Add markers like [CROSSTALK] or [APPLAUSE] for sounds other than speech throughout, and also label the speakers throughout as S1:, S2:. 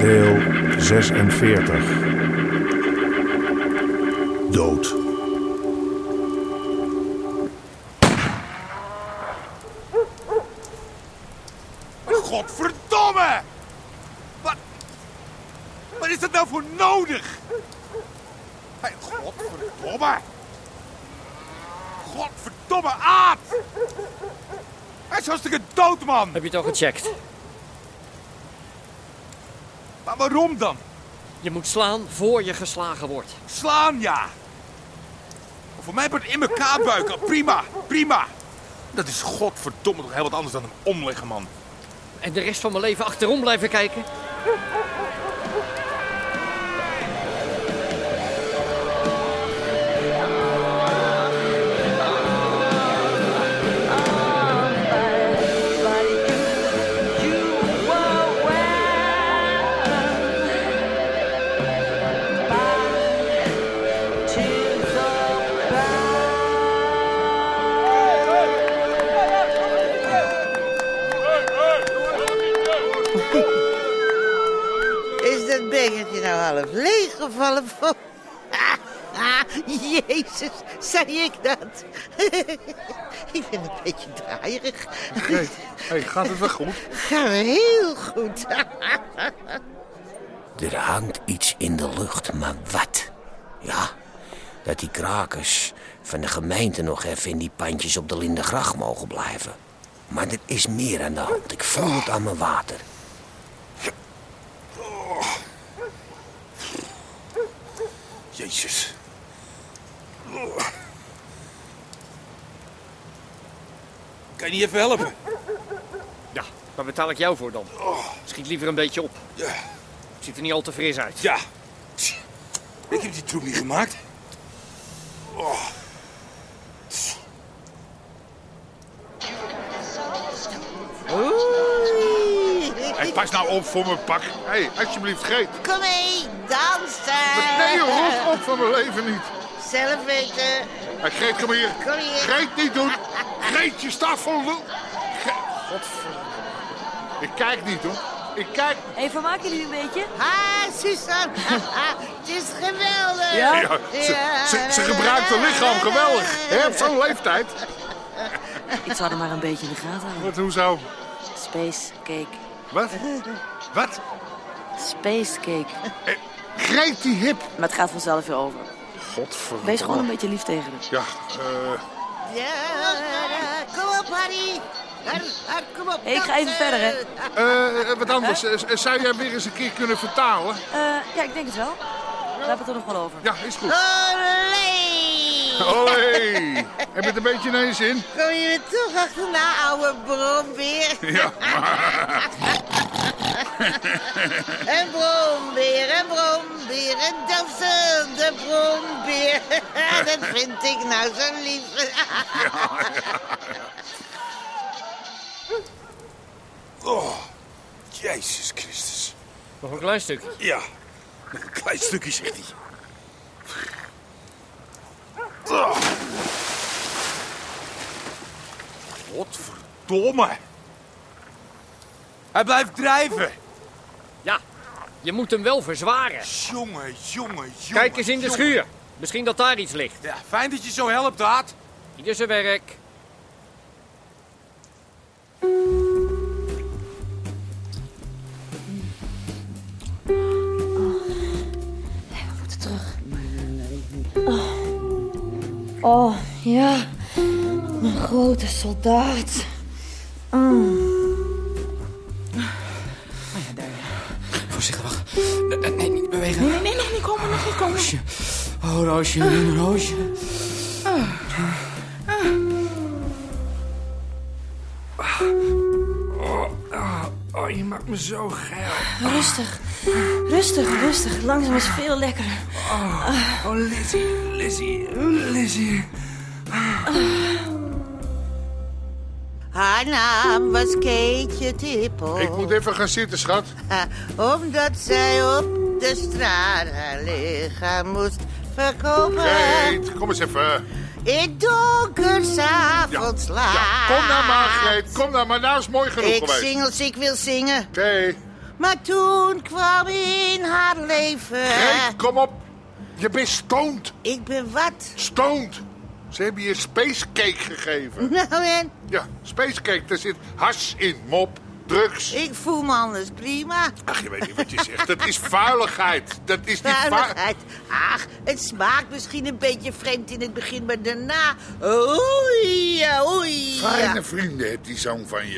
S1: Deel 46. Dood.
S2: Godverdomme! Wat... Wat is dat nou voor nodig? Hey, Godverdomme! Godverdomme, Aad! Hij is hartstikke dood, man!
S3: Heb je het al gecheckt?
S2: Maar waarom dan?
S3: Je moet slaan voor je geslagen wordt.
S2: Slaan, ja! Voor mij wordt in elkaar buiken. Prima, prima. Dat is godverdomme toch heel wat anders dan hem omleggen, man.
S3: En de rest van mijn leven achterom blijven kijken.
S4: Is dat bekertje nou half leeggevallen? Ah, [LAUGHS] Jezus, zei ik dat? [LAUGHS] ik ben een beetje draaierig.
S2: Hey, gaat het wel goed?
S4: Gaan we heel goed.
S5: Er hangt iets in de lucht, maar wat? Ja, dat die krakers van de gemeente nog even in die pandjes op de Lindegracht mogen blijven. Maar er is meer aan de hand. Ik voel het aan mijn water.
S2: Jezus. Kan je niet even helpen?
S3: Ja, waar betaal ik jou voor dan? Schiet liever een beetje op.
S2: Ja.
S3: Ziet er niet al te fris uit.
S2: Ja. Tch. Ik heb die troep niet gemaakt. Oh. Tch.
S4: Oei.
S6: Hey, pas nou op voor mijn pak. Hé, hey, alsjeblieft, geet.
S4: Kom mee, dansen.
S6: Nee, rot op van mijn leven niet.
S4: Zelf weten.
S6: Hey, Greet, kom hier.
S4: Kom hier.
S6: Greet, niet doen. Greet, je staat vol lul. Ik kijk niet, hoor. Ik kijk...
S7: Hé, hey, vermaken jullie een beetje?
S4: Ah,
S7: [LAUGHS]
S4: Suzanne, [LAUGHS] het is geweldig.
S7: Ja?
S6: Ja, ze, ze, ze gebruikt haar lichaam geweldig. Hè, op zo'n leeftijd.
S7: Ik zou er maar een beetje in de gaten houden.
S6: Wat, hoezo?
S7: Space cake.
S6: Wat? Wat?
S7: Space cake.
S6: Greet die hip.
S7: Maar het gaat vanzelf weer over.
S6: Godverdomme.
S7: Wees gewoon een beetje lief tegen hem.
S6: Ja, eh...
S4: Ja, eh, kom op, Harry. Har, Har, kom op.
S7: Hey, ik ga even
S4: dansen.
S7: verder, hè.
S6: eh, wat anders. Eh, Zou jij weer eens een keer kunnen vertalen?
S7: Eh, ja, ik denk het wel. We hebben het er nog wel over.
S6: Ja, is goed. Oh.
S4: Olé!
S6: Olé. Heb je het een beetje in je zin?
S4: Kom je weer terug achterna, oude brombeer? [LAUGHS]
S6: Ja,
S4: En brombeer, en brombeer, en dansen, de brombeer. [LAUGHS] Dat vind ik nou zo lief.
S2: Oh. Jezus Christus.
S3: Nog een klein stuk.
S2: Ja. Nog een klein stukje, zegt hij. Oh. Godverdomme. Hij blijft drijven.
S3: Ja, je moet hem wel verzwaren.
S2: Jongen, jongen, jongen.
S3: Kijk eens in de
S2: jongen.
S3: schuur. Misschien dat daar iets ligt.
S2: Ja, fijn dat je zo helpt, Aad.
S3: Ieder zijn werk.
S8: Oh, ja. Mijn grote soldaat.
S5: Voorzichtig, wacht. Nee, niet bewegen.
S9: Nee, nee, nog niet komen, nog niet komen.
S5: Oh,
S9: roosje, een roosje. Oh, oh, oh, je maakt me zo geil.
S7: Rustig. Rustig, rustig. Langzaam is veel lekkerder.
S9: Oh, oh Lizzie, Lizzie, Lizzie.
S4: Haar naam was Keetje Tippel.
S6: Ik moet even gaan zitten, schat.
S4: Ah, Omdat zij op de straat haar lichaam moest verkopen.
S6: Greet, kom eens even.
S4: In donkersavonds
S6: Ja,
S4: laat.
S6: Kom nou maar, Greet. Kom nou maar. Nou is mooi genoeg
S4: Ik
S6: geweest.
S4: zing als ik wil zingen.
S6: Oké.
S4: Maar toen kwam in haar leven.
S6: Greet, kom op. Je bent stoned.
S4: Ik ben wat? [LAUGHS]
S6: Stoned. Ze hebben je spacecake gegeven.
S4: Nou en,
S6: Ja, spacecake. Daar zit hash in, mop. Drugs.
S4: ik voel me anders prima.
S6: Ach, je weet niet wat je zegt. Dat is vuiligheid. Dat is niet vuil.
S4: Vuiligheid. Ach, het smaakt misschien een beetje vreemd in het begin, maar daarna... Oei, ja, oei. ja.
S6: Fijne vrienden heeft die zoon van je.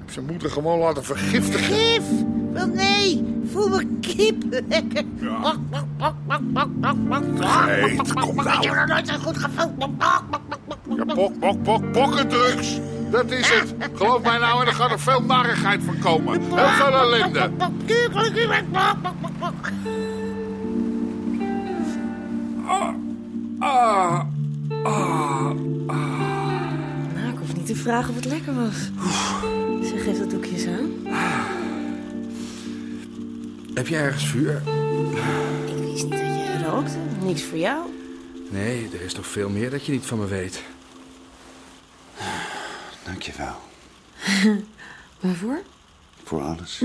S6: Heb zijn moeder gewoon laten vergiftigen.
S4: Gif? Wel nee, voel me kip lekker. Bak, bak, bak, bak, bak, bak, bak, bak.
S6: Greet, kom
S4: Ik heb
S6: nou.
S4: nog nooit zo goed gevoeld. Bak, bak, bak, bak, bak,
S6: Ja,
S4: bak.
S6: pok, pok, pok, pokkendrugs. Dat is
S4: [LAUGHS]
S6: het. Geloof mij nou, en er gaat er veel narigheid van komen. Heel veel ellende.
S4: Bak, kip, lekker, bak, bak, bak, bak, bak.
S7: Nou, ik hoef niet te vragen of het lekker was. Zeg, geef dat doekje eens aan.
S9: Heb jij ergens vuur?
S7: Ik wist niet dat je rookte. Niks voor jou.
S9: Nee, er is nog veel meer dat je niet van me weet.
S10: [LAUGHS]
S11: Dankjewel
S7: Waarvoor?
S11: voor alles.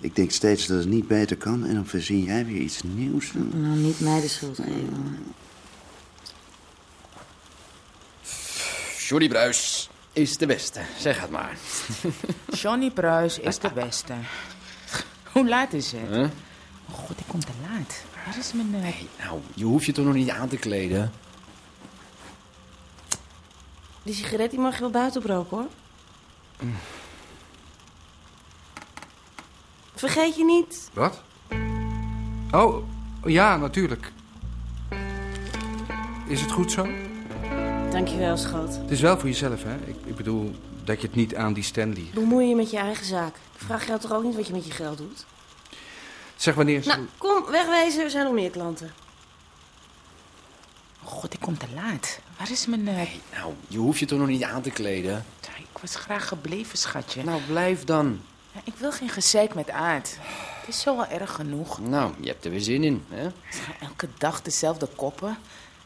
S11: Ik denk steeds dat het niet beter kan en dan verzin jij weer iets nieuws.
S7: Nou, niet mij de schuld geven.
S3: Johnny Bruis is de beste, zeg het maar.
S10: [LAUGHS] Johnny Bruis is de beste. Hoe laat is het? Oh god, ik kom te laat. Waar is mijn... eh,
S3: Nou, je hoeft je toch nog niet aan te kleden?
S7: Die sigaret die mag je wel buiten roken, hoor.
S6: Mm.
S7: Vergeet je niet.
S9: Wat? Oh, ja, natuurlijk. Is het goed zo?
S7: Dankjewel, schat.
S9: Het is wel voor jezelf, hè? Ik, ik bedoel, dat je het niet aan die Stanley...
S7: Bemoei je met je eigen zaak. Ik vraag jou toch ook niet wat je met je geld doet?
S9: Zeg wanneer... ze-
S7: Nou, kom, wegwezen. Er zijn nog meer klanten.
S10: Oh god, ik kom te laat. Waar is mijn... eh,
S3: Nou, je hoeft je toch nog niet aan te kleden?
S10: Ik was graag gebleven, schatje.
S3: Nou, blijf dan.
S10: Ja, ik wil geen gezeik met Aard. Het is zo wel erg genoeg.
S3: Nou, je hebt er weer zin in, hè?
S10: Elke dag dezelfde koppen.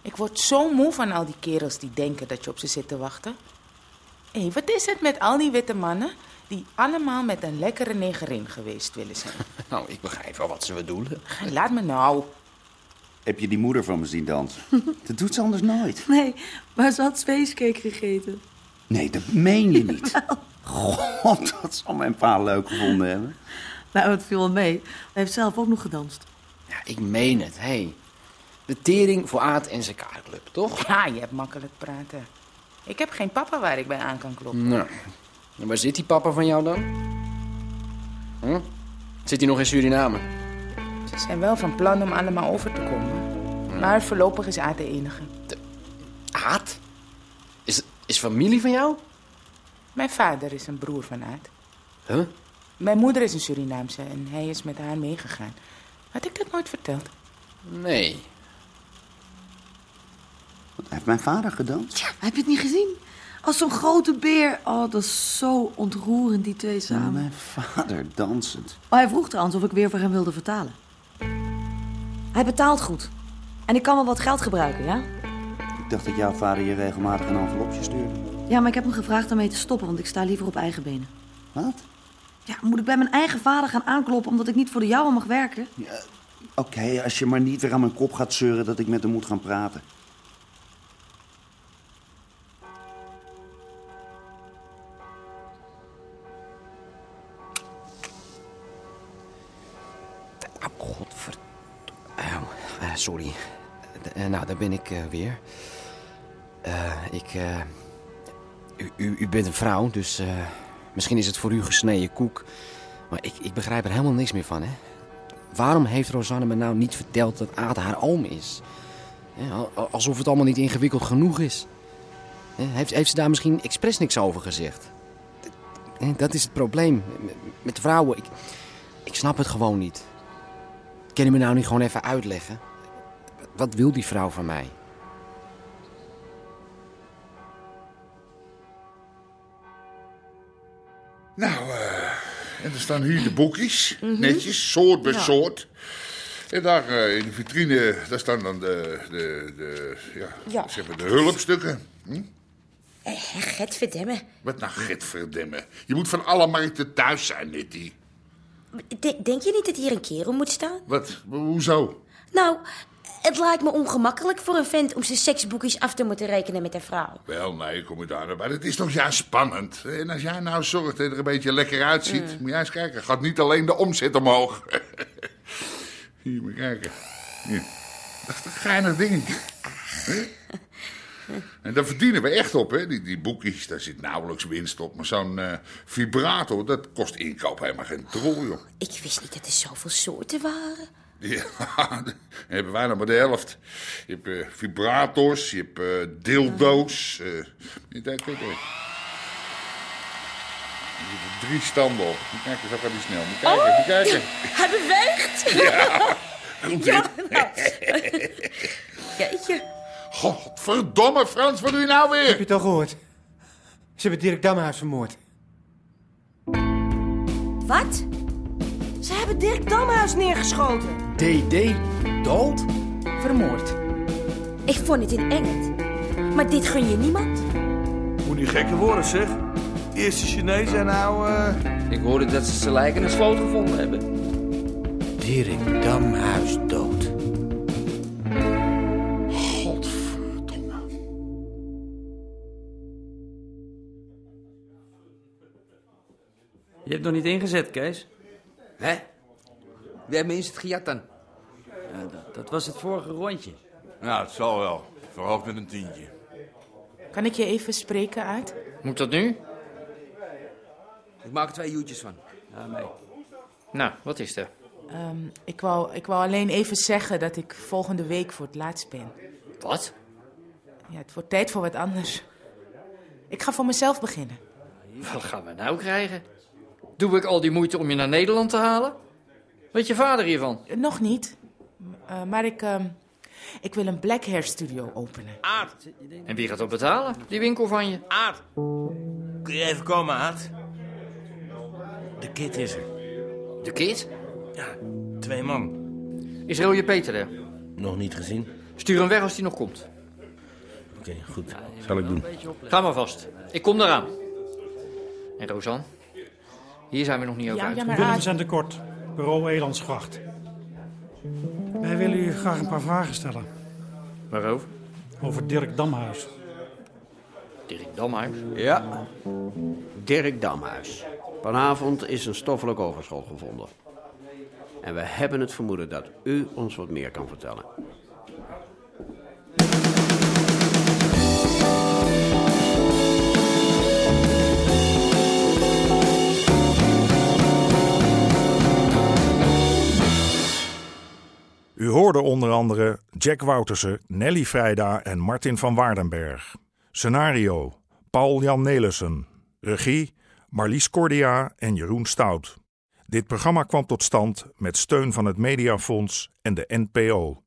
S10: Ik word zo moe van al die kerels die denken dat je op ze zit te wachten. Hé, wat is het met al die witte mannen die allemaal met een lekkere negerin geweest willen zijn?
S3: [LAUGHS] Nou, ik begrijp wel wat ze bedoelen.
S10: Laat me nou.
S11: Heb je die moeder van me zien dansen? Dat doet ze anders nooit.
S12: Nee, maar ze had spacecake gegeten.
S11: Nee, dat meen je
S12: [LAUGHS]
S11: niet. God, dat zal mijn pa leuk gevonden hebben.
S12: Nou, het viel wel mee. Hij heeft zelf ook nog gedanst.
S3: Ja, ik meen het, hé. De tering voor Aad en zijn kaartclub, toch?
S10: Ja, je hebt makkelijk praten. Ik heb geen papa waar ik bij aan kan kloppen.
S3: Nou, en waar zit die papa van jou dan? Hm? Zit hij nog in Suriname?
S10: Ze zijn wel van plan om allemaal over te komen. Maar voorlopig is Aad de enige.
S3: Aad? Is, is familie van jou?
S10: Mijn vader is een broer van Aad.
S3: Huh?
S10: Mijn moeder is een Surinaamse en hij is met haar meegegaan. Had ik dat nooit verteld?
S3: Nee.
S11: Wat heeft mijn vader gedanst?
S12: Heb je het niet gezien? Als zo'n grote beer. Oh, dat is zo ontroerend, die twee samen.
S11: Mijn vader dansend.
S12: Oh, hij vroeg trouwens of ik weer voor hem wilde vertalen.
S8: Hij betaalt goed. En ik kan wel wat geld gebruiken, ja?
S11: Ik dacht dat jouw vader je regelmatig een envelopje stuurde.
S12: Ja, maar ik heb hem gevraagd daarmee te stoppen, want ik sta liever op eigen benen.
S11: Wat?
S12: Ja, moet ik bij mijn eigen vader gaan aankloppen omdat ik niet voor de jouwe mag werken?
S11: Oké, als je maar niet weer aan mijn kop gaat zeuren dat ik met hem moet gaan praten.
S3: Godverd... Auw, Ah, eh, sorry. D- eh, nou, daar ben ik eh, weer. Eh, ik... eh, u, u, u bent een vrouw, dus eh, misschien is het voor u gesneden koek. Maar ik, ik begrijp er helemaal niks meer van, hè? Waarom heeft Rosanne me nou niet verteld dat Aad haar oom is?
S13: Hè, al- al- Alsof het allemaal niet ingewikkeld genoeg is. Hè, Heeft, heeft ze daar misschien expres niks over gezegd? Hè, Dat is het probleem. Met- Met vrouwen, ik, ik snap het gewoon niet. Kan je me nou niet gewoon even uitleggen? Wat wil die vrouw van mij?
S6: Nou, eh, en er staan hier de boekjes.
S4: Mhm.
S6: Netjes, soort bij
S7: Ja.
S6: soort. En daar eh, in de vitrine, daar staan dan de, de, de, ja,
S7: Ja.
S6: Zeg maar de hulpstukken.
S7: Get verdemmen.
S6: Wat nou, Gitverdimme. Je moet van alle markten thuis zijn, Nitty.
S7: denk je niet dat hier een kerel moet staan?
S6: Wat? Hoezo?
S7: Nou, het lijkt me ongemakkelijk voor een vent om zijn seksboekjes af te moeten rekenen met een vrouw.
S6: Wel, nee, kom je daar naar bij. Het is toch juist spannend. En als jij nou zorgt dat je er een beetje lekker uitziet, moet jij eens kijken. Gaat niet alleen de omzet omhoog. [LAUGHS] Hier, moet je kijken. Hier. Dat is een geinig dingetje. Hè? En daar verdienen we echt op, hè? Die, die boekjes, daar zit nauwelijks winst op. Maar zo'n eh, vibrator, dat kost inkoop helemaal geen trol, joh.
S7: Ik wist niet dat er zoveel soorten
S6: [LAUGHS]
S7: waren.
S6: Ja, dan hebben wij nog maar de helft. Je hebt eh, vibrators, je hebt eh, dildo's. eh, je denkt, kijk, eh. Er zitten drie standen op. Moet Kijken, zo gaat die snel. Moet kijken, moet kijken.
S7: Hij beweegt! [LAUGHS]
S6: Ja, goed
S7: Oh, Ja, Nou,
S6: dit.
S7: Jeetje.
S6: Godverdomme Frans, wat doe je nou weer?
S14: Heb je het al gehoord? Ze hebben Dirk Damhuis vermoord.
S15: Wat? Ze hebben Dirk Damhuis neergeschoten.
S13: DD? Dood?
S15: Vermoord.
S7: Ik vond het in Engeland. Maar dit gun je niemand.
S16: Moet niet gekker worden, zeg. Eerste Chinees en nou... Ik hoorde dat ze zijn lijken in de sloot gevonden hebben.
S17: Dirk Damhuis dood.
S16: Je hebt nog niet ingezet, Kees. Hè? We hebben eens het gejat dan. dat, dat was het vorige rondje.
S18: Ja, het zal wel. Verhoogd met een tientje.
S19: Kan ik je even spreken uit?
S18: Moet dat nu? Ik maak er twee uurtjes van. Ja, mee.
S3: Nou, wat is er?
S19: Ehm, ik, wou, ik wou alleen even zeggen dat ik volgende week voor het laatst ben.
S3: Wat?
S19: Ja, het wordt tijd voor wat anders. Ik ga voor mezelf beginnen.
S3: Wat gaan we nou krijgen? Doe ik al die moeite om je naar Nederland te halen? Weet je vader hiervan?
S19: Eh, Nog niet. M- eh, maar ik, ehm, ik wil een black hair studio openen.
S3: Aard. En wie gaat dat betalen? Die winkel van je. Aard.
S18: Kun je even komen, Aad? De kid is er.
S3: De kid?
S18: Ja, twee man.
S3: Is Roje Peter er?
S18: Nog niet gezien?
S3: Stuur hem weg als hij nog komt.
S18: Oké, goed. Zal ik doen.
S3: Ga maar vast. Ik kom eraan. En Rosanne? Hier zijn we nog niet over uit.
S20: Willem zijn de Kort, bureau Elandsgracht. Wij willen u graag een paar vragen stellen
S3: Waarover?
S20: over Dirk Damhuis.
S3: Dirk Damhuis.
S9: Ja. Dirk Damhuis. Vanavond is een stoffelijk overschot gevonden. En we hebben het vermoeden dat u ons wat meer kan vertellen.
S1: U hoorde onder andere Jack Woutersen, Nelly Vrijda en Martin van Waardenberg. Scenario: Paul-Jan Nelissen. Regie: Marlies Cordia en Jeroen Stout. Dit programma kwam tot stand met steun van het Mediafonds en de NPO.